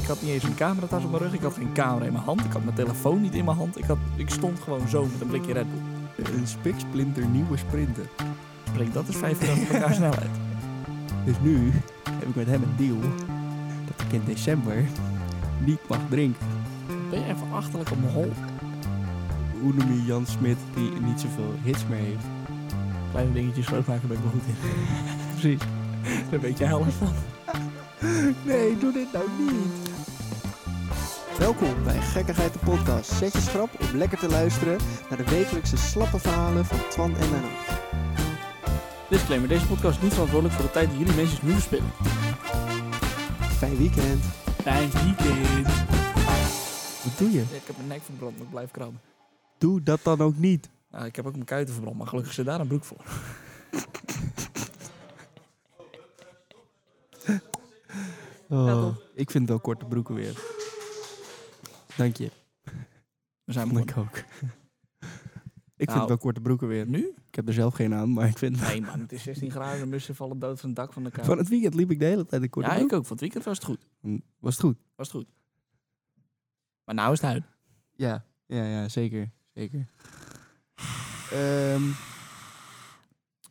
Ik had niet eens een cameratas op mijn rug. Ik had geen camera in mijn hand. Ik had mijn telefoon niet in mijn hand. Ik, had, ik stond gewoon zo met een blikje Red Bull. Een spiksplinter nieuwe sprinter. Breng dat eens vijf keer achter elkaar snelheid. Dus nu heb ik met hem een deal dat ik in december niet mag drinken. Ben je even achterlijk op mijn hol? Hoe noem je Jan Smit die niet zoveel hits meer heeft? Kleine dingetjes schoonmaken ben ik wel goed in. Precies. Daar weet jij alles van. Nee, doe dit nou niet. Welkom bij Gekkigheid de Podcast. Zet je schrap om lekker te luisteren naar de wekelijkse slappe verhalen van Twan en Menno. Disclaimer, deze podcast is niet verantwoordelijk voor de tijd die jullie mensen nu verspillen. Fijn weekend. Fijn weekend. Wat doe je? Ik heb mijn nek verbrand, maar ik blijf krabben. Doe dat dan ook niet. Nou, ik heb ook mijn kuiten verbrand, maar gelukkig zit daar een broek voor. Oh, ik vind het wel korte broeken weer. Dank je. We zijn Vond begonnen. ik ook. Ik vind Nou. het wel korte broeken weer. Nu? Ik heb er zelf geen aan, maar ik vind... Nee man, het is 16 graden, mussen vallen dood van het dak van de kamer. Van het weekend liep ik de hele tijd een korte Ja, ik broek. ook. Van het weekend was het goed. Was het goed? Was het goed. Maar nou is het huid. Ja, ja, ja zeker. zeker. Ehm,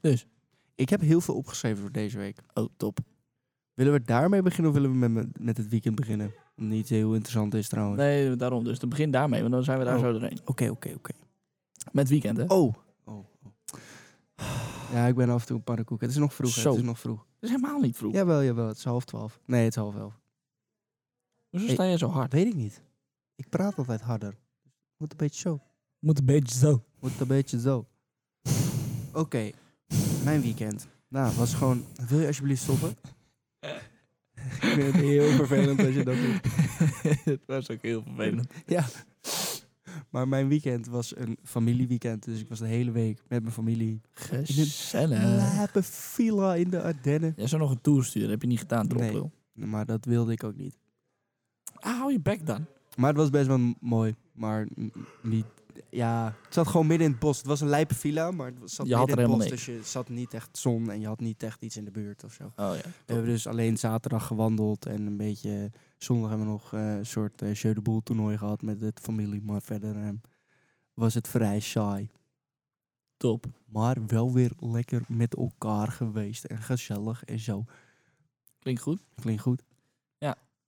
Dus. ik heb heel veel opgeschreven voor deze week. Oh, top. Willen we daarmee beginnen of willen we met- met, met het weekend beginnen? Niet heel interessant is trouwens. Nee, daarom dus. Dan begin daarmee, want dan zijn we daar Oh. zo doorheen. Oké, oké, oké. Met weekend, hè? Oh. oh. Ja, ik ben af en toe een pannenkoek. Het is nog vroeg, hè. Zo. het is nog vroeg. Dat is helemaal niet vroeg. Jawel, jawel, het is half twaalf. Nee, het is half elf. Hoezo sta je zo hard? Weet ik niet. Ik praat altijd harder. Moet een beetje zo. Moet een beetje zo. Moet een beetje zo. Oké, mijn weekend. Nou, was gewoon... Wil je alsjeblieft stoppen? ik vind het heel vervelend als je dat doet. het was ook heel vervelend. Ja. Maar mijn weekend was een familieweekend. Dus ik was de hele week met mijn familie. Gezellig. Lape villa in de Ardennen. Jij zou nog een tour sturen, heb je niet gedaan, Nee. droplul. Maar dat wilde ik ook niet. Ah, hou je bek dan. Maar het was best wel m- mooi. Maar n- niet... Ja, het zat gewoon midden in het bos. Het was een lijpe villa, maar het zat Je midden had er in het bos. helemaal Dus je zat niet echt zon en je had niet echt iets in de buurt of zo. Oh ja. We hebben dus alleen zaterdag gewandeld en een beetje... Zondag hebben we nog eh, een soort eh Jeu de Boel toernooi gehad met de familie. Maar verder eh, was het vrij saai. Top. Maar wel weer lekker met elkaar geweest en gezellig en zo. Klinkt goed. Klinkt goed.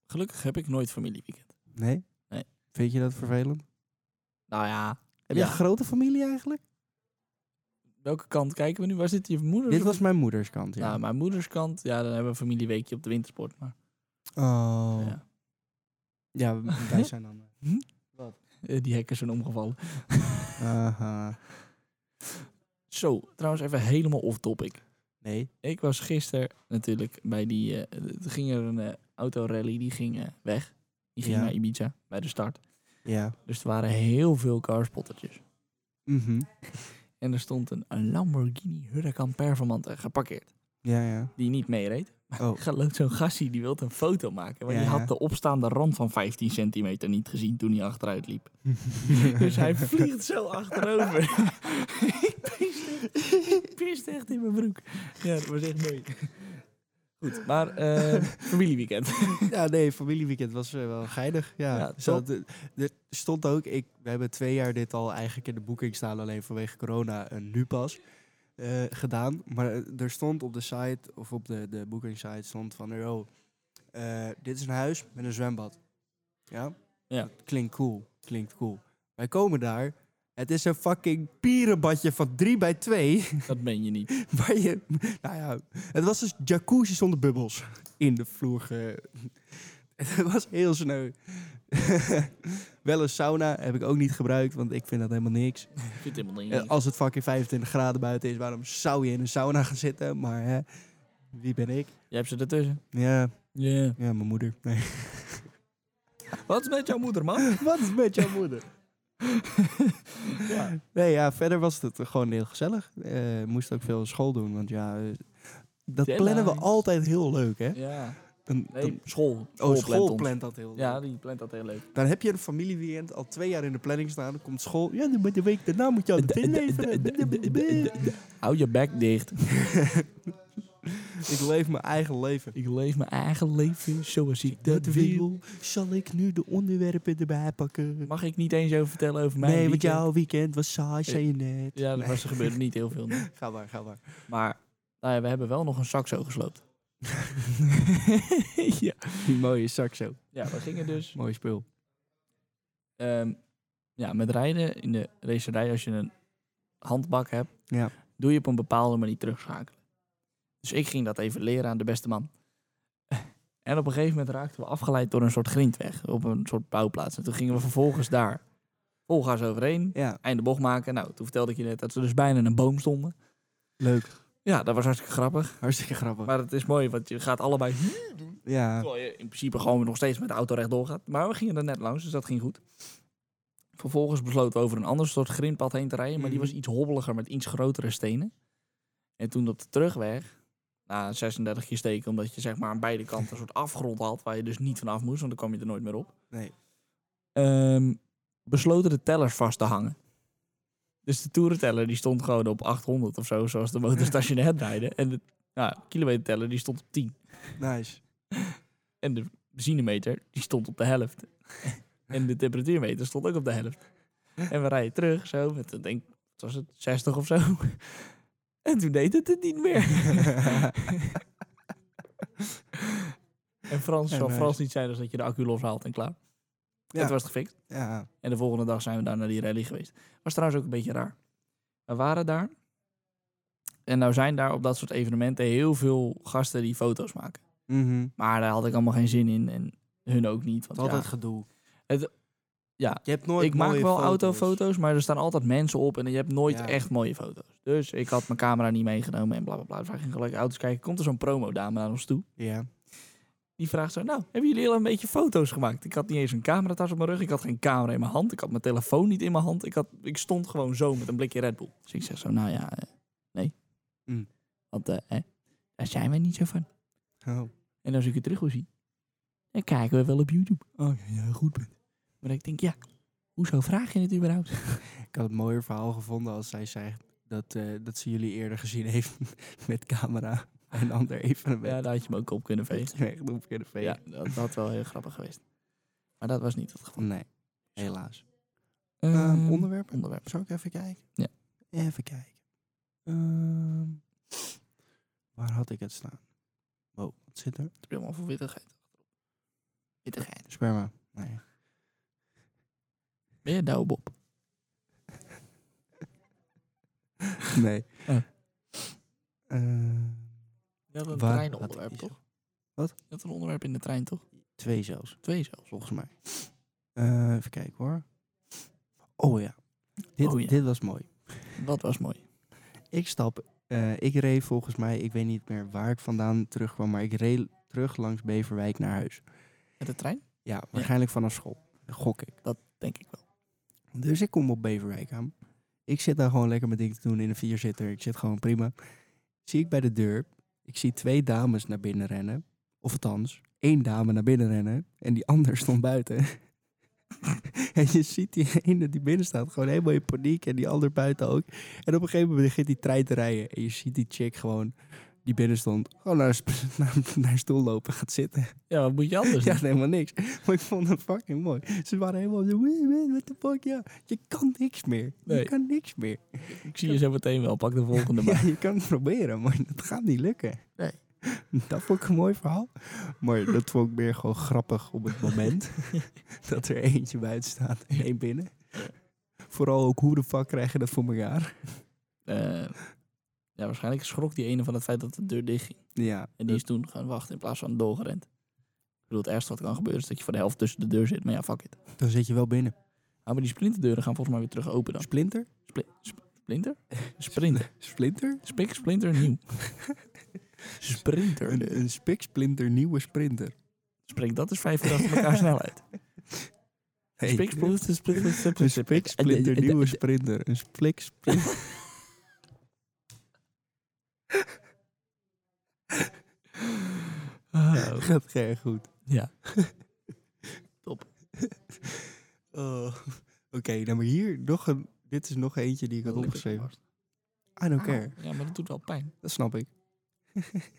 Gelukkig heb ik nooit familieweekend. Nee? Nee. Vind je dat vervelend? Nou ja. Heb je een grote familie eigenlijk? Welke kant kijken we nu? Waar zit je moeder? Dit was mijn moeders kant, ja. Nou, mijn moeders kant. Ja, dan hebben we een familieweekje op de wintersport. Maar, Oh. Ja, ja. wij zijn dan... Eh, Die hekken zijn omgevallen. Aha. Zo, trouwens even helemaal off topic. Nee? Ik was gisteren natuurlijk bij die... eh, er ging er een eh, autorally, die ging eh, weg. Die ging Ja. naar Ibiza, bij de start. Ja. Dus er waren heel veel carspottertjes. Mhm. En er stond een, een Lamborghini Huracan Performant eh, geparkeerd. Ja, ja. Die niet meereed. Oh. Er loopt zo'n gassie, die wil een foto maken. Maar Ja, die ja. had de opstaande rand van 15 centimeter niet gezien toen hij achteruit liep. Dus hij vliegt zo achterover. ik, piste, ik piste echt in mijn broek. Ja, dat was echt mooi. Goed, maar eh, familieweekend. Ja, nee, familieweekend was eh, wel geinig. Ja, Ja, Zo, d- er stond ook, ik, we hebben twee jaar dit al eigenlijk in de boeking staan, alleen vanwege corona en nu pas eh, gedaan. Maar eh, er stond op de site, of op de, de boeking site, stond van, oh, eh, dit is een huis met een zwembad. Ja? Ja. Dat klinkt cool, klinkt cool. Wij komen daar, het is een fucking pierenbadje van 3 bij 2, Dat meen je niet. waar je, nou ja, het was dus jacuzzi zonder bubbels in de vloer. ge- Het was heel sneu. Wel een sauna heb ik ook niet gebruikt, want ik vind dat helemaal niks. Ik vind het helemaal niet. Eh, Als het fucking 25 graden buiten is, waarom zou je in een sauna gaan zitten? Maar hè, wie ben ik? Jij hebt ze ertussen. Ja, Ja. ja mijn moeder. Nee. Wat is met jouw moeder, man? Wat is met jouw moeder? Ja. Nee, ja, verder was het gewoon heel gezellig. Eh moest ook veel school doen, want ja, eh, dat Deadlines. plannen we altijd heel leuk, hè? Ja. Dan, Nee, dan- school. oh, plant school ons. plant dat heel leuk. Ja, die plant dat heel leuk. Dan heb je een familieweekend al twee jaar in de planning staan. Dan komt school. Ja, dan moet Oh, de week daarna moet je al dit leveren. Hou je bek dicht. Ik leef mijn eigen leven. Ik leef mijn eigen leven zoals ik dat wil. zal ik nu de onderwerpen erbij pakken. Mag ik niet eens over vertellen over mij? Nee, want jouw weekend was saai, zei je net. Ja, dat was, er gebeurde niet heel veel. nee. Ga maar, ga maar. Maar nou ja, we hebben wel nog een saxo gesloopt. ja. Die mooie saxo. ja, we gingen dus Mooi spul. Ehm, ja, met rijden in de racerij, als je een handbak hebt, Ja. doe je op een bepaalde manier terugschakelen. Dus ik ging dat even leren aan de beste man. En op een gegeven moment raakten we afgeleid door een soort grindweg op een soort bouwplaats. En toen gingen we vervolgens daar volgas overheen, Ja, einde bocht maken. Nou, toen vertelde ik je net dat ze dus bijna in een boom stonden. leuk. Ja, dat was hartstikke grappig. Hartstikke grappig. Maar het is mooi, want je gaat allebei ja, Eh, Terwijl je in principe gewoon nog steeds met de auto rechtdoor gaat. Maar we gingen er net langs, dus dat ging goed. Vervolgens besloten we over een ander soort grindpad heen te rijden. Maar die Mhm. was iets hobbeliger met iets grotere stenen. En toen op de terugweg, na 36 keer steken, omdat je zeg maar aan beide kanten een soort afgrond had. Waar je dus niet vanaf moest, want dan kwam je er nooit meer op. Nee. Ehm, besloten de tellers vast te hangen. Dus de toerenteller die stond gewoon op 800 of zo, zoals de motor stationair draaide. En de ja, kilometerteller die stond op 10. nice. En de benzinemeter, die stond op de helft. en de temperatuurmeter stond ook op de helft. En we rijden terug, zo, met, ik denk, wat was het, 60 of zo. en toen deed het het niet meer. En Frans Ja, zal nice. Frans niet zijn als dat je de accu loshaalt en klaar. Ja. Dat was het gefixt. ja, En de volgende dag zijn we daar naar die rally geweest. Was trouwens ook een beetje raar. We waren daar. En nou zijn daar op dat soort evenementen heel veel gasten die foto's maken. mhm. Maar daar had ik allemaal geen zin in. En hun ook niet. Want ja, Altijd gedoe. Het- ja. Je hebt nooit ik maak mooie wel foto's. autofoto's, maar er staan altijd mensen op en je hebt nooit Ja. echt mooie foto's. Dus ik had mijn camera niet meegenomen en bla bla bla. Dus wij gingen gelijk auto's kijken. Komt er zo'n promo-dame naar ons toe. Ja. Die vraagt zo, nou, hebben jullie al een beetje foto's gemaakt? Ik had niet eens een cameratas op mijn rug. Ik had geen camera in mijn hand. Ik had mijn telefoon niet in mijn hand. Ik, had, ik stond gewoon zo met een blikje Red Bull. Dus ik zeg zo, nou ja, eh, nee. Mm. Want eh, hè, daar zijn wij niet zo van. Oh. En als ik het terug wil zien, dan kijken we wel op YouTube. Oh ja, ja goed punt. Maar ik denk, ja, hoezo vraag je het überhaupt? Ik had het mooier verhaal gevonden als zij zegt dat, eh, dat ze jullie eerder gezien heeft met camera. En ander even een Ja, daar had je me ook op kunnen vegen. Ja, beetje. dat had wel heel grappig geweest. Maar dat was niet het geval. Nee, helaas. Ehm, onderwerp? Onderwerp. Zou ik even kijken? Ja. Even kijken. Ehm, waar had ik het staan? Wow, wat zit er? Het is helemaal voor wittigheid. Wittigheid. Sperma. Nee. Ben je nou, Bob? nee. Oh. Ehm, Je had een Waar treinonderwerp, had ik- toch? Wat? Je had een onderwerp in de trein, toch? twee zelfs. Twee zelfs. volgens mij. Eh, even kijken hoor. Oh ja. Dit, Oh ja. dit was mooi. Dat was mooi. Ik stap, eh, ik reed volgens mij, ik weet niet meer waar ik vandaan terugkwam, maar ik reed terug langs Beverwijk naar huis. Met de trein? Ja, waarschijnlijk vanaf school. Gok ik. Denk ik wel. Dus ik kom op Beverwijk aan. Ik zit daar gewoon lekker mijn ding te doen in een vierzitter. Ik zit gewoon prima. Zie ik bij de deur, ik zie twee dames naar binnen rennen. Of althans, één dame naar binnen rennen en die ander stond buiten. en je ziet die ene die binnen staat gewoon helemaal in paniek en die ander buiten ook. En op een gegeven moment begint die trein te rijden en je ziet die chick gewoon die binnen stond gewoon naar, een sp- naar, een- naar een stoel lopen gaat zitten. Ja, wat moet je anders Ja, helemaal niks. Maar ik vond het fucking mooi. Ze waren helemaal zo, "Wee, wee, what the fuck, ja. Je kan niks meer. Nee. Je kan niks meer. Ik zie je zo meteen wel. Pak de volgende Ja, maar. je kan het proberen, maar dat gaat niet lukken. Nee. Dat vond ik een mooi verhaal. Maar dat vond ik meer gewoon grappig op het moment. dat er eentje buiten staat en één binnen. Vooral ook hoe de fuck krijg je dat voor elkaar? Eh, ja, waarschijnlijk schrok die ene van het feit dat de deur dicht ging. Ja. dus En die is toen gaan wachten in plaats van doorgerend. Ik bedoel, het ergste wat kan gebeuren is dat je voor de helft tussen de deur zit. Maar ja, fuck it. dat- Dan zit je wel binnen. Ah, maar die splinterdeuren gaan volgens mij weer terug open dan. Splinter? Spli- sp- splinter? Sprinter. Splinter? Spik, splinter, nieuw. Sprinter. Een, een spiksplinter nieuwe sprinter. Spreek dat eens vijf keer achter elkaar snel uit. Hey. Spik, splinter, splinter, Een splinter, spik, splinter, nieuwe sprinter. Een splik, splinter. Oh, Gaat geen goed. Ja. Oh. Oké, nou maar hier nog een... Dit is nog eentje die ik had opgeschreven. I don't care. Ja, maar dat doet wel pijn. Dat snap ik.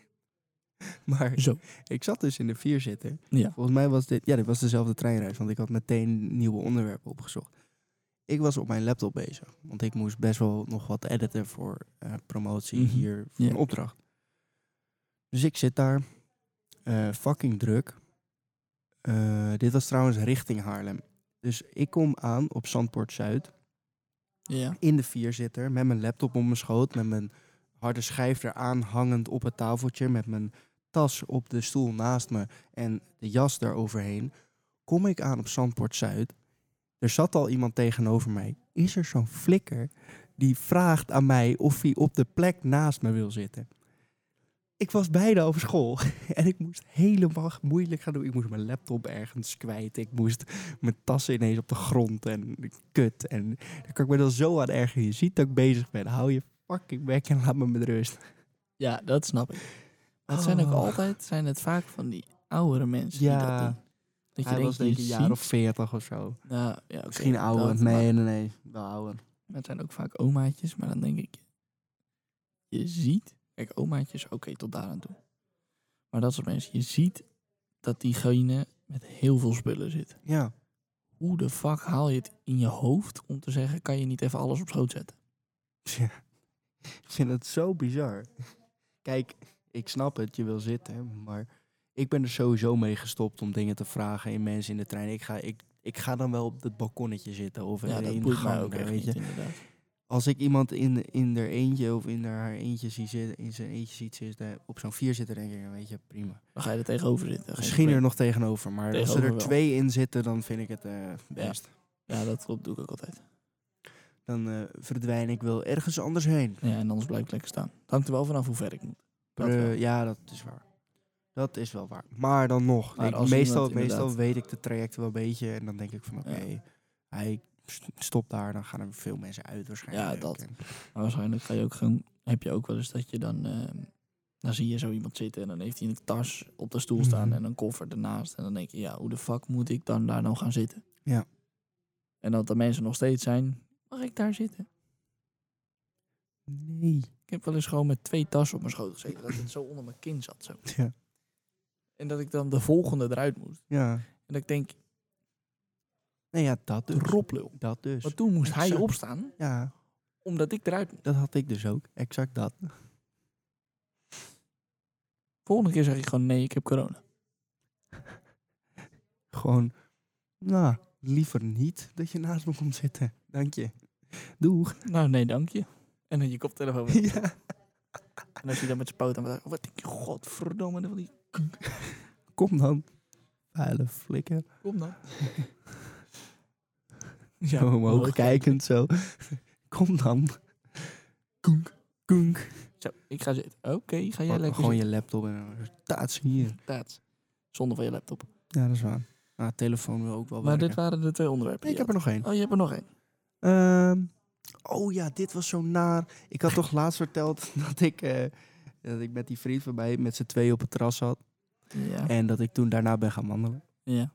maar Zo. ik zat dus in de vierzitter. Ja. Volgens mij was dit... Ja, dit was dezelfde treinreis, want ik had meteen nieuwe onderwerpen opgezocht. Ik was op mijn laptop bezig, want ik moest best wel nog wat editen voor eh, promotie Mhm. hier, voor Ja. een opdracht. Dus ik zit daar, eh, fucking druk. Eh, dit was trouwens richting Haarlem. Dus ik kom aan op Zandpoort Zuid, Ja. in de vierzitter, met mijn laptop op mijn schoot, met mijn harde schijf eraan hangend op het tafeltje, met mijn tas op de stoel naast me en de jas daaroverheen, kom ik aan op Zandpoort Zuid. Er zat al iemand tegenover mij. Is er zo'n flikker die vraagt aan mij of hij op de plek naast me wil zitten? Ik was bijna op school en ik moest helemaal moeilijk gaan doen. Ik moest mijn laptop ergens kwijt. Ik moest mijn tassen ineens op de grond en kut. En daar kan ik me dan zo aan ergeren. Je ziet dat ik bezig ben. Hou je fucking bek en laat me met rust. ja, dat snap ik. Dat zijn ook Oh. altijd, zijn het vaak van die oudere mensen die dat Ja. doen. Dat Hij was denk ik een je jaar ziet- of veertig of zo. Nou, ja, oké, Misschien ouder. dat, nee, nee, nee. Wel ouder. Maar het zijn ook vaak omaatjes, maar dan denk ik, je ziet, kijk, omaatjes, oké, tot daar aan toe. Maar dat soort mensen, je ziet dat diegene met heel veel spullen zit. Ja. Hoe de fuck haal je het in je hoofd om te zeggen, kan je niet even alles op schoot zetten? Ik vind het zo bizar. Kijk, ik snap het. Je wil zitten. Maar ik ben er sowieso mee gestopt om dingen te vragen in mensen in de trein. Ik ga, ik, ik ga dan wel op het balkonnetje zitten. Of in ja, de dat ene boeit mij gang. ook weet echt je. niet, inderdaad. als ik iemand in, in haar eentje of in haar eentje zie zitten, in zijn eentje ziet zitten, op zo'n vier zitten, denk ik, ja, weet je, prima. Dan ga je er tegenover zitten. geen Misschien er probleem. nog tegenover, maar als Tegenover er er wel. twee in zitten, dan vind ik het eh, best. Ja, dat klopt, doe ik ook altijd. Dan eh, verdwijn ik wel ergens anders heen. Ja, en anders blijf ik lekker staan. Het hangt er wel vanaf hoe ver ik moet. Dat Eh, wel. ja, dat is waar. Dat is wel waar. Maar dan nog, Maar ik- als meestal, iemand meestal inderdaad- weet ik de trajecten wel een beetje en dan denk ik van, oké, Ja. hij st- stopt daar, dan gaan er veel mensen uit waarschijnlijk. dat. En- Maar waarschijnlijk ga je ook gewoon, heb je ook wel eens dat je dan, ehm, dan zie je zo iemand zitten en dan heeft hij een tas op de stoel staan Mhm. en een koffer ernaast. En dan denk je, ja, hoe de fuck moet ik dan daar nou gaan zitten? Ja. En dat de mensen nog steeds zijn, mag ik daar zitten? Nee. Ik heb wel eens gewoon met twee tassen op mijn schoot gezeten, dat het zo onder mijn kin zat zo. Ja. En dat ik dan de volgende eruit moest. ja. En dat ik denk, Nee, ja, dat dus. droplul. Dat dus. Maar toen moest hij Exact. opstaan, Ja, omdat ik eruit moest. dat had ik dus ook. Exact dat. Volgende keer zeg ik gewoon, nee, ik heb corona. Gewoon, nou, liever niet dat je naast me komt zitten. Dank je. Doeg. Nou, nee, dank je. En dan je koptelefoon weg. ja. En als je dan met zijn poot aan wat denk je, godverdomme, dat wil die- Kom dan. Vuile flikker. kom dan. ja, Omhoog mooi. kijkend zo. Kom dan. Koenk. Koenk. Zo, ik ga zitten. Oké, ga jij Pak lekker gewoon zitten. je laptop en een taats hier. Inderdaad. Zonder van je laptop. Ja, dat is waar. Nou, telefoon wil ook wel Maar werken. dit waren de twee onderwerpen. Nee, ik die heb er nog één. je had. Oh, je hebt er nog één. Ehm, oh ja, dit was zo naar. Ik had toch laatst verteld dat ik, eh, dat ik met die vriend van mij met z'n tweeën op het terras zat. Ja. En dat ik toen daarna ben gaan wandelen. ja.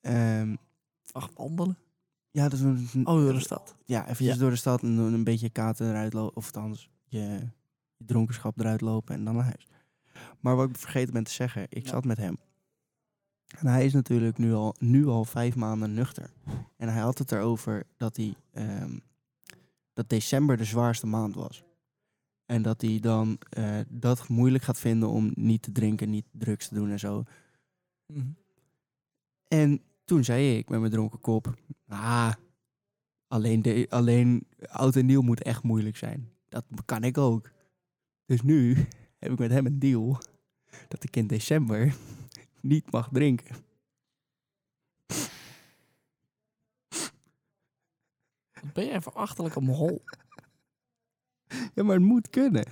Ehm, Ach, wandelen. ja, dat is een, Oh, door de stad. ja, eventjes ja. door de stad en dan een beetje katen eruit lopen. Of althans, je, je dronkenschap eruit lopen en dan naar huis. Maar wat ik vergeten ben te zeggen, ik Ja. zat met hem. En hij is natuurlijk nu al, nu al vijf maanden nuchter. En hij had het erover dat hij ehm, dat december de zwaarste maand was. En dat hij dan eh, dat moeilijk gaat vinden om niet te drinken, niet drugs te doen en zo. Mhm. En toen zei ik met mijn dronken kop: Ah, alleen, de, alleen oud en nieuw moet echt moeilijk zijn. Dat kan ik ook. Dus nu heb ik met hem een deal dat ik in december niet mag drinken. Dan ben je even achterlijk op mijn hol. Ja, maar het moet kunnen.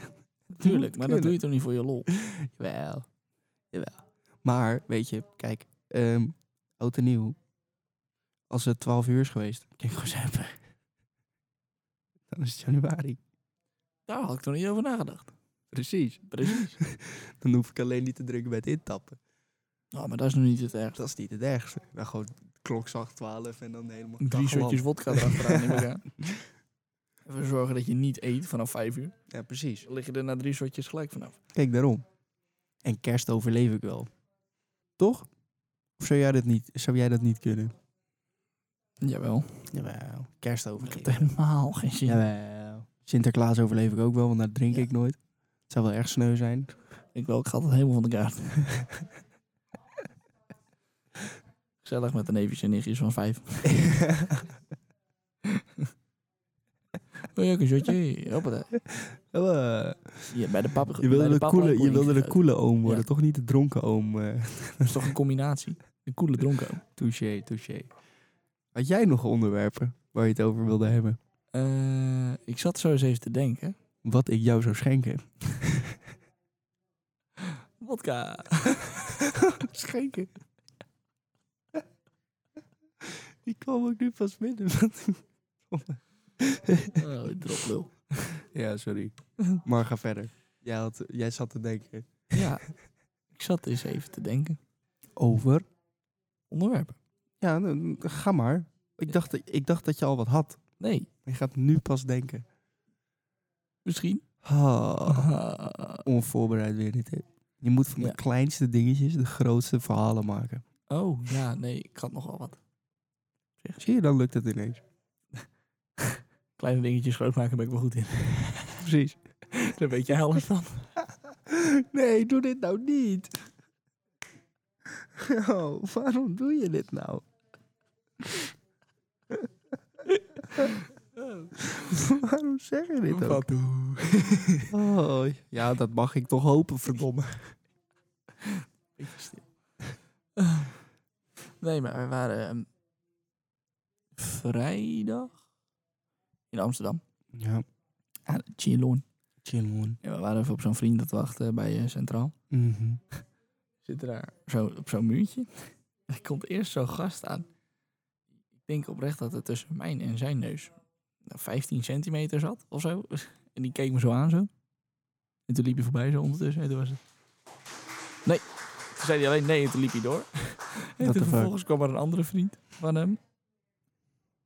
Tuurlijk, maar dat kunnen. doe je toch niet voor je lol. Jawel. Jawel. Maar, weet je, kijk, ehm, oud en nieuw. Als het 12 uur is geweest, kan ik gewoon zuipen. Dan is het januari. Daar had ik nog niet over nagedacht. Precies. Precies. Dan hoef ik alleen niet te drinken bij het intappen. Nou, maar dat is nog niet het ergste. Dat is niet het ergste. Nou, Dan gewoon klokzacht 12 en dan helemaal Drie kachelap. shotjes wodka erachteraan. neem ik aan. Even zorgen dat je niet eet vanaf vijf uur. Ja, precies. Dan lig je er na drie shotjes gelijk vanaf. Kijk daarom. En kerst overleef ik wel. Toch? Of zou jij dat niet, zou jij dat niet kunnen? Jawel. Jawel, kerst Ik heb overleef er helemaal geen zin in. Jawel. Sinterklaas overleef ik ook wel, want daar drink Ja. ik nooit. Het zou wel erg sneu zijn. Ik wel, ik ga altijd helemaal van de kaart. Gezellig met de neefjes en nichtjes van vijf. Wil je ook een shotje? Hoppatee. Hier, bij de papa. je bij wilde de de papa koele, je koning wilde de gegeten. koele oom worden, Ja. toch niet de dronken oom? eh. Dat is toch een combinatie? Een koele dronken ook. touché, touché. Had jij nog onderwerpen waar je het over wilde hebben? Eh, ik zat zo eens even te denken. Wat ik jou zou schenken? Wodka. Schenken. Die kwam ook nu pas binnen. Oh, droplul. ja, sorry. Maar ga verder. Jij, had, jij zat te denken. Ja, ik zat eens even te denken. Over? Onderwerpen? Ja, nou, ga maar. Ik dacht, dat- ik dacht dat je al wat had. Nee, Je gaat nu pas denken. misschien. Ah, Ah. onvoorbereid weer dit. hè. Je moet van Ja. de kleinste dingetjes de grootste verhalen maken. Oh, ja, nee, ik had nogal wat. Zie je, dan lukt het ineens. Kleine dingetjes grootmaken ben ik wel goed in. Precies. Daar weet jij alles van. nee, doe dit nou niet. Oh, waarom doe je dit nou? waarom zeg je dit ook? Oh, ja, dat mag ik toch hopen, verdomme. Beetje stil. Nee, maar we waren ehm, vrijdag in Amsterdam. Ja, Aan het Chillon. chill man. Mhm. En we waren even op zo'n vriend dat wachten bij eh, Centraal. Zitten daar zo, op zo'n muurtje. En er komt eerst zo'n gast aan. Ik denk oprecht dat het tussen mijn en zijn neus nou, 15 centimeter zat of zo. En die keek me zo aan zo. En toen liep hij voorbij zo ondertussen. En toen was het... Nee. Toen zei hij alleen nee en toen liep hij door. En What the toen fuck? vervolgens kwam er een andere vriend van hem.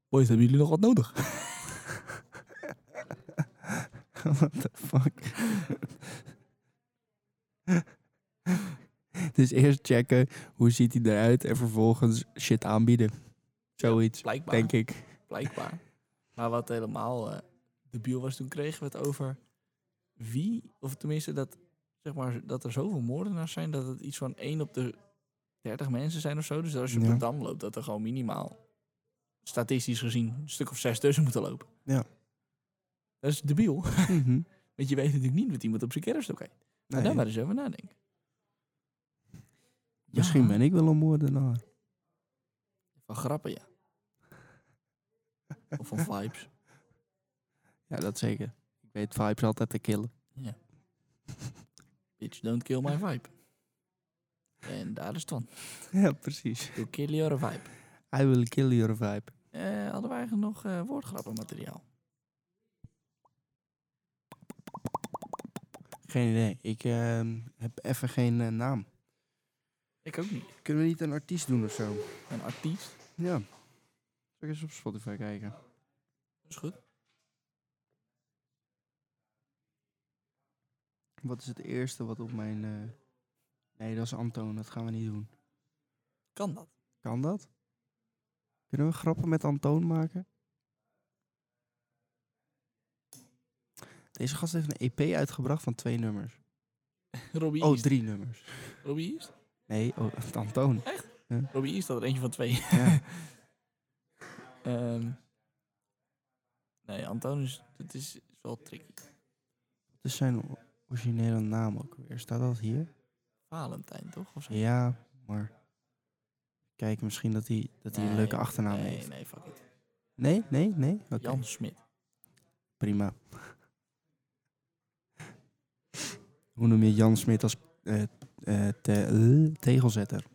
Boys, hebben jullie nog wat nodig? What the fuck? dus eerst checken, hoe ziet hij eruit? En vervolgens shit aanbieden. Zoiets, Blijkbaar. denk ik. Blijkbaar. Maar wat helemaal eh debiel was, toen kregen we het over wie, of tenminste dat, zeg maar, dat er zoveel moordenaars zijn dat het iets van 1 op de 30 mensen zijn of zo. Dus als je op Ja. de dam loopt, dat er gewoon minimaal, statistisch gezien, een stuk of zes tussen moeten lopen. Ja. Dat is debiel. Mhm. Want je weet natuurlijk niet wat iemand op zijn kerfstok heeft. Maar Nee, daar maar eens over nadenken. Misschien Ja. ben ik wel een moordenaar. Van grappen, ja. Of van vibes. Ja, dat zeker. Ik weet vibes altijd te killen. Bitch, don't kill my vibe. En daar is het van. Ja, precies. Door kill your vibe. I will kill your vibe. Eh, hadden we eigenlijk nog eh, woordgrappenmateriaal? Geen idee. Ik ehm, heb even geen eh, naam. Ik ook niet. Kunnen we niet een artiest doen of zo? Een artiest. Ja. Zal ik eens op Spotify kijken? Dat is goed. Wat is het eerste wat op mijn... eh, Nee, dat is Antoon. Dat gaan we niet doen. Kan dat? Kan dat? Kunnen we grappen met Antoon maken? Deze gast heeft een EP uitgebracht van twee nummers. Robbie Oh, East. drie nummers. Robbie East? Nee, oh, Antoon. Robbie East had er eentje van twee. Ja. Ehm, nee, Antonis, dat is, is wel tricky. Wat is zijn o- originele naam ook weer? Staat dat hier? Valentijn, toch? Of zo? Ja, maar... Kijken misschien dat hij dat hij een Nee, leuke achternaam nee, heeft. Nee, fuck it. Nee, nee, nee? nou, Oké, Jan Smit. prima. Hoe noem je Jan Smit als eh, eh, te- eh, tegelzetter?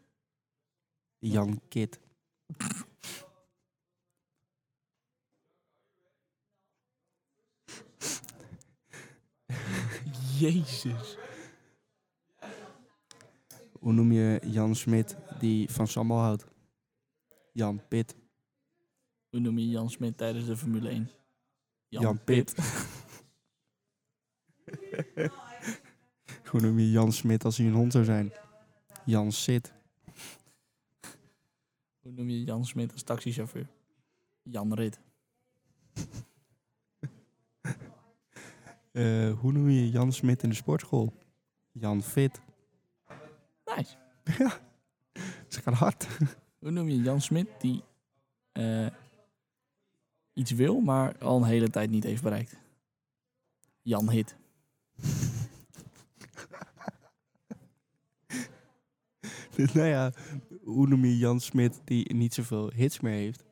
Jan Kit. Jezus. Hoe noem je Jan Smit die van sambal houdt? Jan Pit. Hoe noem je Jan Smit tijdens de Formule 1? Jan, Jan Pit. Hoe noem je Jan Smit als hij een hond zou zijn? Jan Sit. Hoe noem je Jan Smit als taxichauffeur? Jan Rit. Eh, hoe noem je Jan Smit in de sportschool? Jan Fit. Nice. Ze gaan hard. Hoe noem je Jan Smit die eh, iets wil, maar al een hele tijd niet heeft bereikt? Jan Hit. nou ja, hoe noem je Jan Smit die niet zoveel hits meer heeft?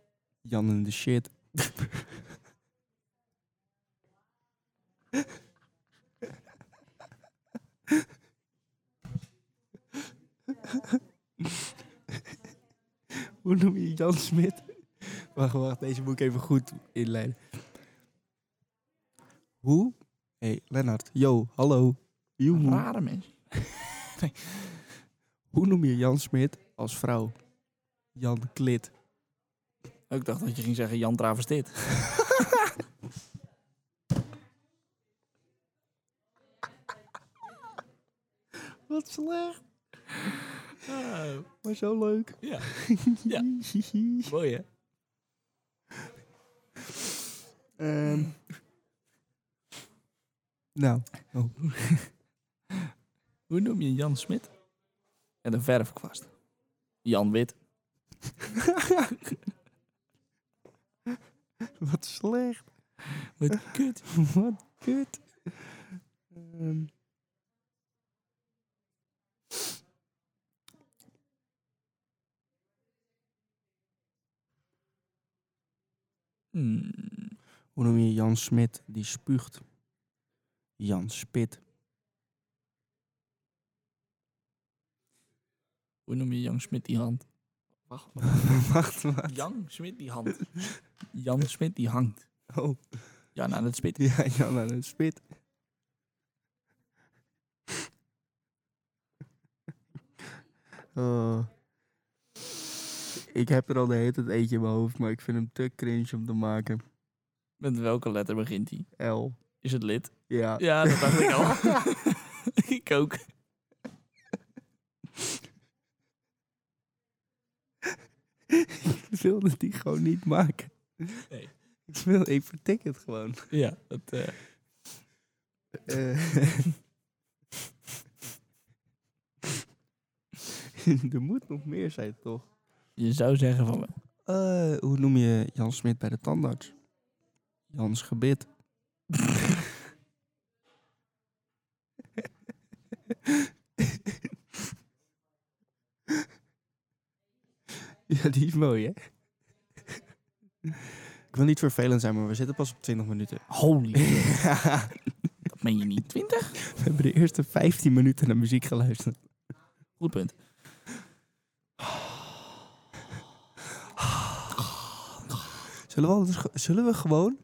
Jan in de shit. hoe noem je Jan Smit? Wacht, wacht, deze moet ik even goed inleiden. Hoe? Hé, hey, Lennart. Yo, hallo. Joemoe. Rare mens. Hoe noem je Jan Smit als vrouw? Jan Klit. Ik dacht dat je ging zeggen Jan Travestit. Wat slecht, maar zo leuk. Oh, Ja. Ja. Mooi hè? Ehm. nou, Hoe noem je Jan Smit? En een verfkwast. Jan Wit. wat slecht. Wat kut. Wat kut. Ehm. Hmm. Hoe noem je Jan Smit die spuugt? Jan Spit. Hoe noem je Jan Smit die hand? Wacht. Wacht, wacht. Jan Smit die hand. Jan Smit die hangt. Oh, Ja, nou dat spit. ja, Jan aan het spit. Oh. Ik heb er al de hele tijd eentje in mijn hoofd, maar ik vind hem te cringe om te maken. Met welke letter begint hij? L. Is het lid? Ja. Ja, dat dacht ik al. ik ook. ik wilde die gewoon niet maken. Nee. Ik, wil, ik vertik het gewoon. Ja, dat, eh, Eh. er moet nog meer zijn, toch? je zou zeggen van wel. Eh, hoe noem je Jan Smit bij de tandarts? Jans gebit. ja, die is mooi, hè? Ik wil niet vervelend zijn, maar we zitten pas op 20 minuten. Holy, shit, we dat meen je niet. 20? hebben de eerste 15 minuten naar muziek geluisterd. Goed punt. Zullen we, anders ge- zullen we gewoon...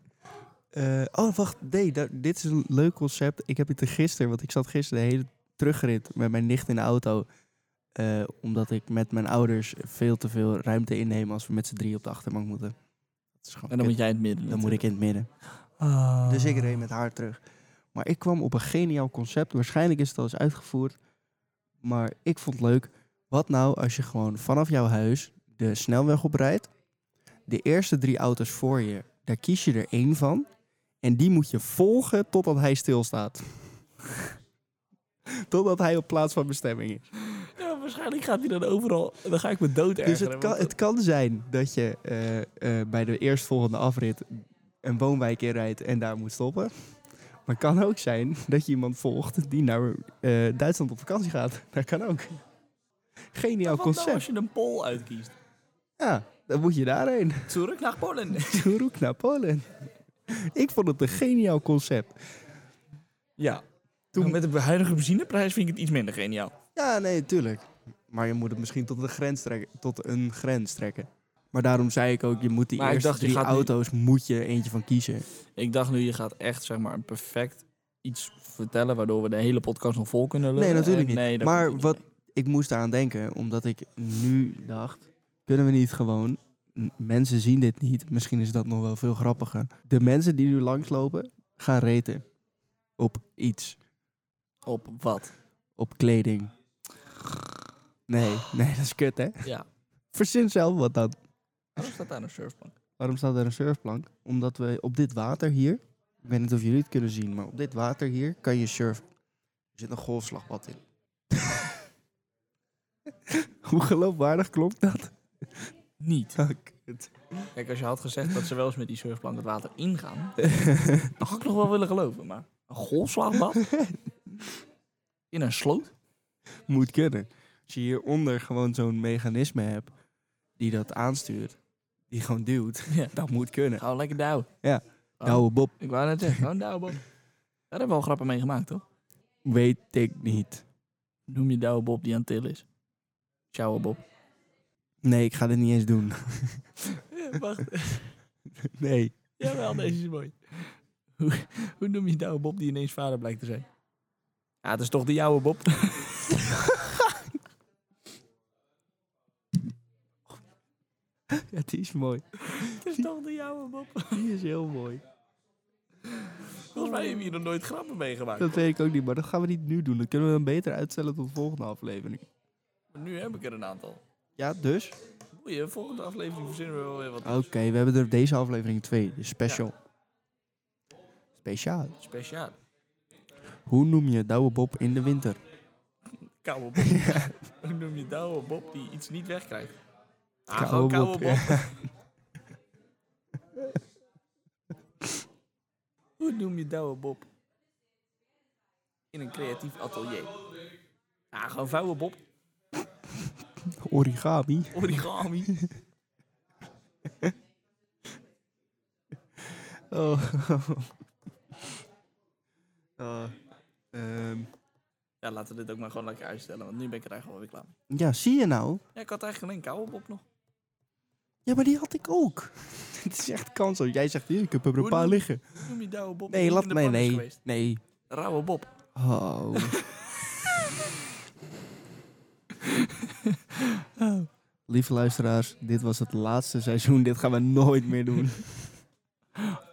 eh, oh, wacht. Nee, da- dit is een leuk concept. Ik heb het er gisteren... Want ik zat gisteren de hele terugrit met mijn nicht in de auto. eh, omdat ik met mijn ouders veel te veel ruimte inneem... als we met z'n drie op de achterbank moeten. Dat is gewoon En dan kut. moet jij het midden. dan moet ik in het midden. Ah. Dus ik reed met haar terug. Maar ik kwam op een geniaal concept. Waarschijnlijk is het al eens uitgevoerd. Maar ik vond het leuk. Wat nou als je gewoon vanaf jouw huis de snelweg oprijdt. De eerste drie auto's voor je, daar kies je er één van. En die moet je volgen totdat hij stilstaat. totdat hij op plaats van bestemming is. Ja, waarschijnlijk gaat hij dan overal. Dan ga ik me dood ergeren. Dus het kan, want- het kan zijn dat je eh, eh, bij de eerstvolgende afrit een woonwijk inrijdt en daar moet stoppen. Maar het kan ook zijn dat je iemand volgt die naar eh, Duitsland op vakantie gaat. Dat kan ook. Geniaal Wat nou als concept. je een pol uitkiest? Ja, dan moet je daarheen. Terug naar Polen. Roek naar Polen. Ik vond het een geniaal concept. Ja. Toen- Toen... Met de huidige benzineprijs vind ik het iets minder geniaal. Ja, nee, tuurlijk. Maar je moet het misschien tot een grens trekken. Tot een grens trekken. Maar daarom zei ik ook, je moet die Maar ik eerste dacht, je drie gaat nu- auto's moet je eentje van kiezen. Ik dacht nu, je gaat echt zeg maar een perfect iets vertellen... waardoor we de hele podcast nog vol kunnen lullen. Nee, natuurlijk En- niet. nee, dat Maar komt niet. wat- ik moest daaraan denken, omdat ik nu dacht: kunnen we niet gewoon m- mensen zien dit niet. Misschien is dat nog wel veel grappiger. De mensen die nu langslopen, gaan reten. Op iets. Op wat? Op kleding. Nee, nee, dat is kut, hè? Ja. Verzin zelf wat dan. Waarom staat daar een surfbank? Waarom staat er een surfplank? Omdat we op dit water hier, ik weet niet of jullie het kunnen zien, maar op dit water hier kan je surfen. Er zit een golfslagpad in. Hoe geloofwaardig klopt dat? Niet. Ah, kut. Kijk, als je had gezegd dat ze wel eens met die surfplank het water ingaan, dan had ik nog wel willen geloven. Maar een golfslagbad? In een sloot? Moet kunnen. Als je hieronder gewoon zo'n mechanisme hebt die dat aanstuurt, die gewoon duwt, Ja. dat moet kunnen. Gewoon lekker douwen. Ja. Gewoon- Nou, Bob, Ik wou net zeggen, gewoon douwen, Bob. Daar hebben we al grappen mee gemaakt, toch? weet ik niet. Noem je douwe Bob die aan het tillen is. Sjouwe Bob. Nee, ik ga dit niet eens doen. Wacht, Nee. jawel, deze is mooi. Hoe, hoe noem je douwe Bob die ineens vader blijkt te zijn? Ja, het is toch de jouwe Bob? Ja, die is mooi. het is toch de jouwe Bob? Die is heel mooi. Volgens mij hebben we hier nog nooit grappen mee gemaakt. Dat weet ik ook niet, maar dat gaan we niet nu doen. Dat kunnen we dan beter uitstellen tot de volgende aflevering. Maar nu heb ik er een aantal. Ja, dus? Boeien, volgende aflevering verzinnen we wel weer wat Oké, we hebben er deze aflevering twee. Dus special. Speciaal. speciaal. Hoe noem je Douwe Bob in de winter? Koude Bob. Hoe noem je douwe Bob die iets niet wegkrijgt? Ah, Koude gewoon koude Bob, Bob. Hoe noem je douwe Bob in een creatief atelier? Ah, gewoon vouwen Bob. Origami. Origami. Oh. Oh. Eh, ehm, Ja, laten we dit ook maar gewoon lekker uitstellen, want nu ben ik er eigenlijk wel weer klaar mee. ja, zie je nou? Ja, ik had eigenlijk alleen koude Bob nog. Ja, maar die had ik ook. Het is echt kans. hoor. Jij zegt, hier, ik heb er een Hoe paar noem- liggen. Hoe noem je douwe Bob die Nee, niet laat in de mij. pan is Nee, geweest? nee. Rauwe Bob. Oh. Lieve luisteraars, dit was het laatste seizoen. Dit gaan we nooit meer doen.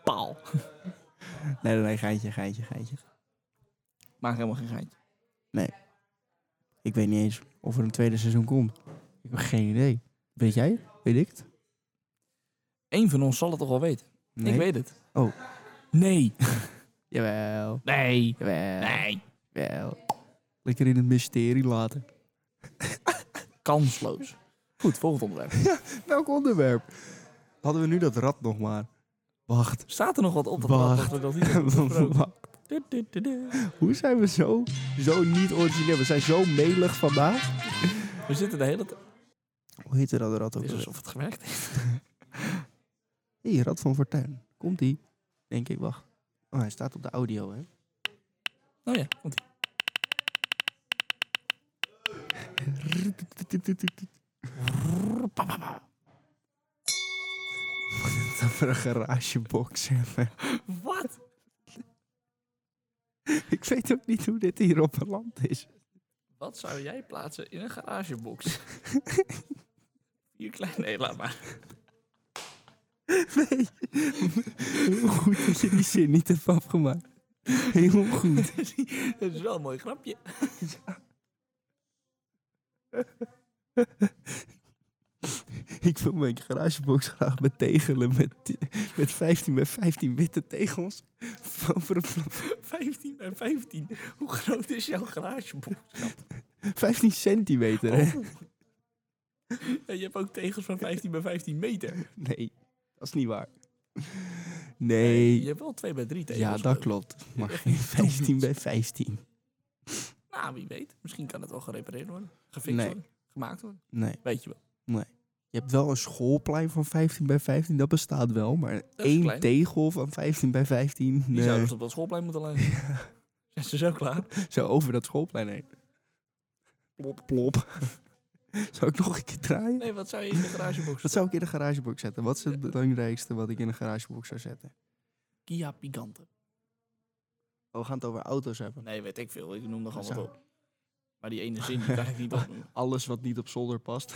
Paal. Nee, nee, nee, geintje, geintje, geintje. Maak helemaal geen geintje. Ik weet niet eens of er een tweede seizoen komt. Ik heb geen idee. Weet jij? het? Weet ik het? Eén van ons zal het toch wel weten. Nee? Ik weet het. Oh. Nee. Jawel. Nee. Jawel. Nee. Jawel. Lekker in het mysterie laten. Kansloos. Goed, volgend onderwerp. Welk onderwerp? Hadden we nu dat rad nog maar? Wacht. Staat er nog wat op te Wacht. wachten? Dat we dat niet hebben besproken? Du- du- du- du. Hoe zijn we zo, zo niet origineel? We zijn zo melig vandaag. We zitten de hele tijd... Hoe heette dat rad Het ook? is alweer? alsof het gewerkt heeft. Hé, Rad van Fortuin. Komt ie? Denk ik, wacht. Oh, hij staat op de audio, hè? Oh ja, komt ie. Dat we een garagebox hebben. Wat? Ik weet ook niet hoe dit hier op het land is. Wat zou jij plaatsen in een garagebox? Hier klein... Nee, laat maar. Nee. Heel goed dat je die zin niet hebt afgemaakt. Heel goed. Dat is wel een mooi grapje. Ik wil mijn garagebox graag met tegelen met, met 15 bij 15 witte tegels. Over een pla- 15 bij 15. Hoe groot is jouw garagebox? Oh. 15 centimeter, hè? Ja, je hebt ook tegels van 15 bij 15 meter. Nee, dat is niet waar. Je Nee. hebt wel 2 bij 3 tegels. Ja, dat klopt. Maar geen 15 bij 15. Nou, wie weet. Misschien kan het wel gerepareerd worden. Gefixt Nee. worden. Gemaakt worden. Nee. Weet je wel. Je hebt wel een schoolplein van 15 bij 15, dat bestaat wel. Maar is één klein. tegel van 15 bij 15, Die nee. zouden ze op dat schoolplein moeten leggen. Zijn ze zo klaar? zo over dat schoolplein heen. Plop, plop. zou ik nog een keer draaien? Nee, wat zou je in de garagebox? Wat zou ik in de garagebox zetten? Wat is het Ja. belangrijkste wat ik in de garagebox zou zetten? Kia Picanto. Oh, we gaan het over auto's hebben. Nee, weet ik veel. Ik noem nog Wat allemaal zou- op. Maar die ene zin die kan ik niet opnoemen. Alles wat niet op zolder past.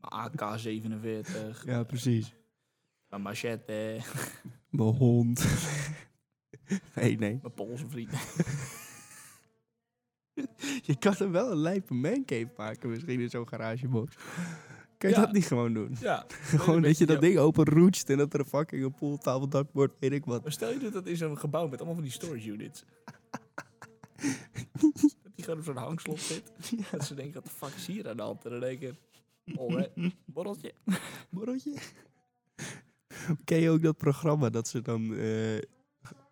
AK-47, Ja, precies. een machette, Mijn hond. nee, nee. mijn Poolse vriend. Je kan er wel een lijpe mancave maken misschien in zo'n garagebox. Kan je Ja. dat niet gewoon doen? Ja. Gewoon dat je dat Ja. ding open roetst en dat er een fucking een pooltafel, dakbord, weet ik wat. Maar stel je doet dat in zo'n gebouw met allemaal van die storage units. dat die gewoon op zo'n hangslot zit. Dat ze denken, wat de fuck is hier aan de hand? En dan denken, oh hè, borreltje. Borreltje. Ken je ook dat programma dat ze dan eh,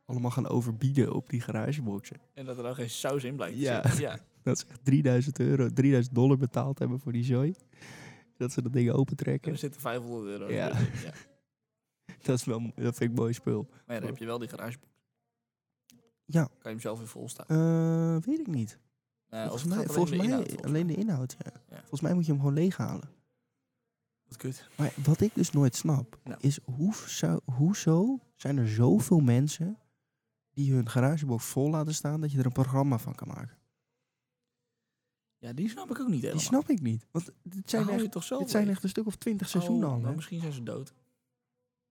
allemaal gaan overbieden op die garageboxen? En dat er dan geen saus in blijkt te Ja. zitten. Ja. Dat ze echt 3000 euro, 3000 dollar betaald hebben voor die zooi. Dat ze dat ding En opentrekken. er zitten 500 euro in. Ja. Ja. Dat, is wel, dat vind ik mooi spul. Maar ja, dan heb je wel die garagebox. Ja. Kan je hem zelf weer volstaan. Eh, weet ik niet. Eh, of volgens het mij, gaat alleen volgens om de mij inhoud, volgens alleen mij. de inhoud. Ja. Ja. Volgens mij moet je hem gewoon leeghalen. Wat kut. Maar wat ik dus nooit snap, Nou. is hoe zou, hoezo zijn er zoveel mensen die hun garagebox vol laten staan dat je er een programma van kan maken? Ja, die snap ik ook niet helemaal. Die snap ik niet. Want dit zijn, Hou je echt, toch zelf dit zijn weer? echt een stuk of twintig seizoenen Oh, al. maar hè? misschien zijn ze dood. Zijn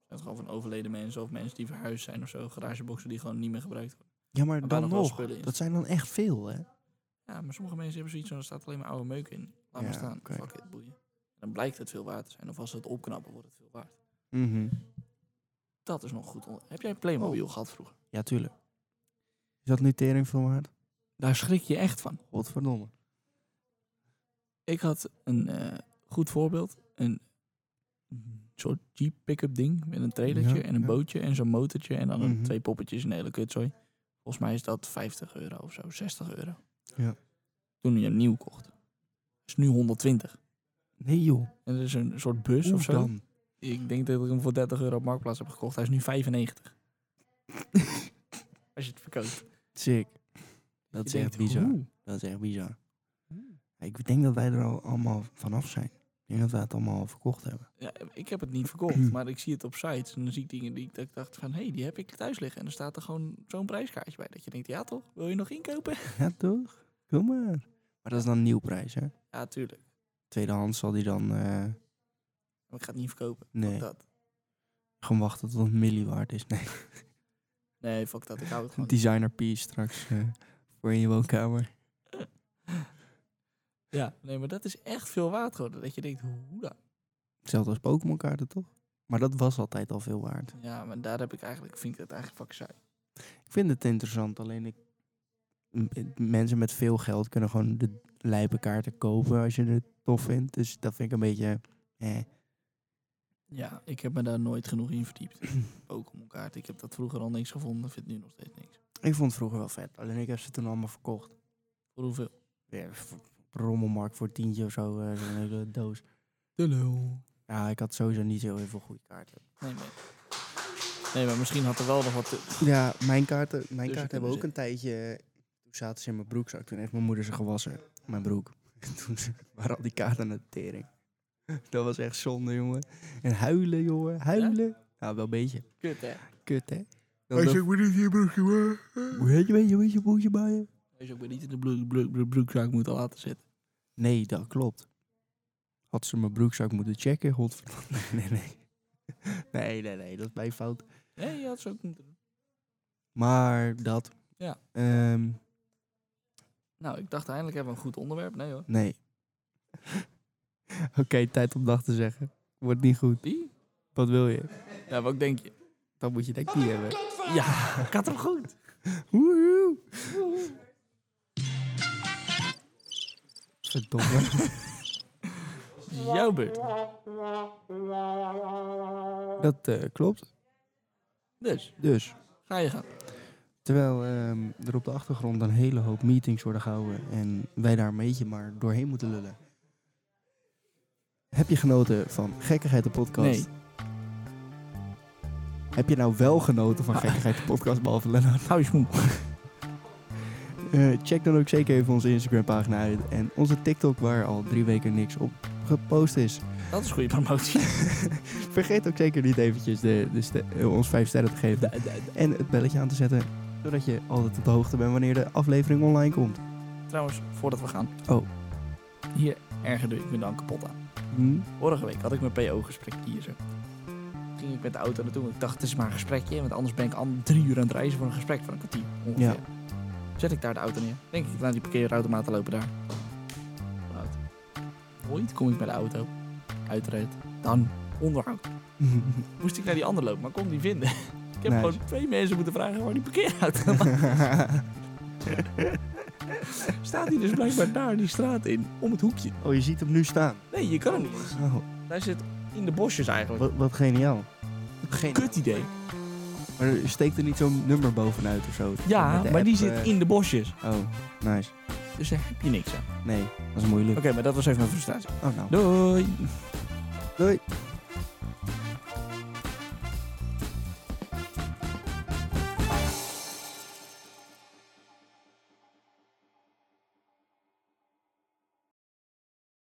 het gewoon van overleden mensen of mensen die verhuisd zijn of zo. Garageboxen die gewoon niet meer gebruikt worden. Ja, maar waar dan nog wel nog. spullen in Dat zijn dan echt veel, hè? Ja, maar sommige mensen hebben zoiets van, er staat alleen maar oude meuk in. Laat maar Ja, staan. oké. Fuck it, boeien. Dan blijkt het veel waard te zijn. Of als ze het opknappen, wordt het veel waard. Mhm. Dat is nog goed. onder- Heb jij een Playmobil Oh. gehad vroeger? Ja, tuurlijk. Is dat nu tering veel waard? Daar schrik je echt van. Godverdomme. Ik had een eh, goed voorbeeld. Een soort jeep pick-up ding met een trailertje Ja, en een ja. bootje en zo'n motortje. En dan een- Mhm. twee poppetjes en een hele kutzooi. Volgens mij is dat 50 euro of zo, 60 euro. Ja. Toen je hem nieuw kocht. is nu 120. Nee, joh. En er is een soort bus Hoe of zo. dan? Ik denk dat ik hem voor 30 euro op Marktplaats heb gekocht. Hij is nu 95. Als je het verkoopt. Sick. Dat is Je denkt, echt bizar. hoe? Dat is echt bizar. Ik denk dat wij er al allemaal vanaf zijn. Ik denk dat wij het allemaal al verkocht hebben. Ja, ik heb het niet verkocht, maar ik zie het op sites. En dan zie ik dingen die ik, dat ik dacht van, hé, hey, die heb ik thuis liggen. En er staat er gewoon zo'n prijskaartje bij. Dat je denkt, ja toch, wil je nog inkopen? Ja, toch? Kom maar. Maar dat is dan een nieuw prijs, hè? Ja, tuurlijk. Tweedehands zal die dan eh, Maar ik ga het niet verkopen. Nee. Fuck dat. gaan wachten tot het milli waard is. Nee, Nee, fuck dat. Ik hou het een gewoon. designer piece straks eh, voor in je woonkamer. Ja, nee, maar dat is echt veel waard geworden. Dat je denkt, hoe dan? Hetzelfde als Pokémon kaarten, toch? Maar dat was altijd al veel waard. Ja, maar daar heb ik eigenlijk, vind ik dat eigenlijk fucking saai. Ik vind het interessant, alleen ik... m- m- Mensen met veel geld kunnen gewoon de lijpe kaarten kopen als je het tof vindt. Dus dat vind ik een beetje... Eh. Ja, ik heb me daar nooit genoeg in verdiept. Pokémon kaart, ik heb dat vroeger al niks gevonden. Vind nu nog steeds niks. Ik vond het vroeger wel vet, alleen ik heb ze toen allemaal verkocht. Voor hoeveel? Ja, v- op rommelmarkt voor tientje of zo, eh, zo'n hele doos. De lul. Ja, ik had sowieso niet zo heel veel goede kaarten. Nee, nee. Nee, maar misschien had er wel nog wat... te- Ja, mijn kaarten, mijn Dus je kaarten kunt hebben ook ze- een tijdje... Toen zaten ze in mijn broekzak. Toen heeft mijn moeder ze gewassen. Mijn broek. Toen ze- waren al die kaarten naar de tering. Dat was echt zonde, jongen. En huilen, jongen. Huilen. Ja, wel een beetje. Kut, hè? Kut, hè? Hij zegt, moet niet in je broekje, Weet je, weet je, weet je, broekje bij je? Als je ook weer niet in de broek, broek, broek- broekzak moet laten zitten. Nee, dat klopt. Had ze mijn broekzak moeten checken, godverdomme. Nee, nee, nee. Nee, nee, nee, dat is mijn fout. Nee, je had ze ook moeten doen. Maar dat. Ja. Ehm, Nou, ik dacht eindelijk hebben we een goed onderwerp. Nee hoor. nee. Oké, tijd om dag te zeggen. Wordt niet goed. Die? Wat wil je? Ja, wat denk je? Dan moet je denk ik niet hebben. Ja, ik had hem goed. Woehoe. Verdomme. Jouw beurt. dat eh, klopt. Dus, Dus, ga je gaan. terwijl ehm, er op de achtergrond een hele hoop meetings worden gehouden en wij daar een beetje maar doorheen moeten lullen. Heb je genoten van Gekkigheid de podcast? Nee, Heb je nou wel genoten Ah. van Gekkigheid de podcast, behalve Lennart? hou je smoel. Eh, check dan ook zeker even onze Instagram pagina uit. En onze TikTok waar al drie weken niks op gepost is. Dat is goede promotie. Vergeet ook zeker niet eventjes de, de ste- eh, ons vijf sterren te geven. Eh, En het belletje aan te zetten. Zodat je altijd op de hoogte bent wanneer de aflevering online komt. Trouwens, voordat eh, we gaan. Oh. Hier ergerde ik me dan kapot aan. Hm? Vorige week had ik mijn PO-gesprek hier zo. Ging ik met de auto naartoe, want ik dacht, het is maar een gesprekje. Want anders ben ik an drie uur aan het reizen voor een gesprek van een kwartier ongeveer. Ja. Zet ik daar de auto neer. Denk ik, naar die parkeerautomaat te lopen daar. Fout. Ooit kom ik bij de auto. Uitreed. Dan onderhoud. Moest ik naar die andere lopen, maar kon die vinden. Ik heb Nice. gewoon twee mensen moeten vragen waar die parkeerautomaat staat. Die dus blijkbaar daar die straat in, om het hoekje. oh, je ziet hem nu staan. Nee, je kan hem niet. eens. Oh, Hij zit in de bosjes eigenlijk. wat, wat geniaal. Geen... Kut idee. Maar er steekt er niet zo'n nummer bovenuit of zo? Ja, Met de maar die app, zit eh, in de bosjes. Oh, nice. Dus daar heb je niks aan. Oké, Nee, dat is moeilijk. maar dat was even mijn frustratie. Oh, nou. Doei! Doei.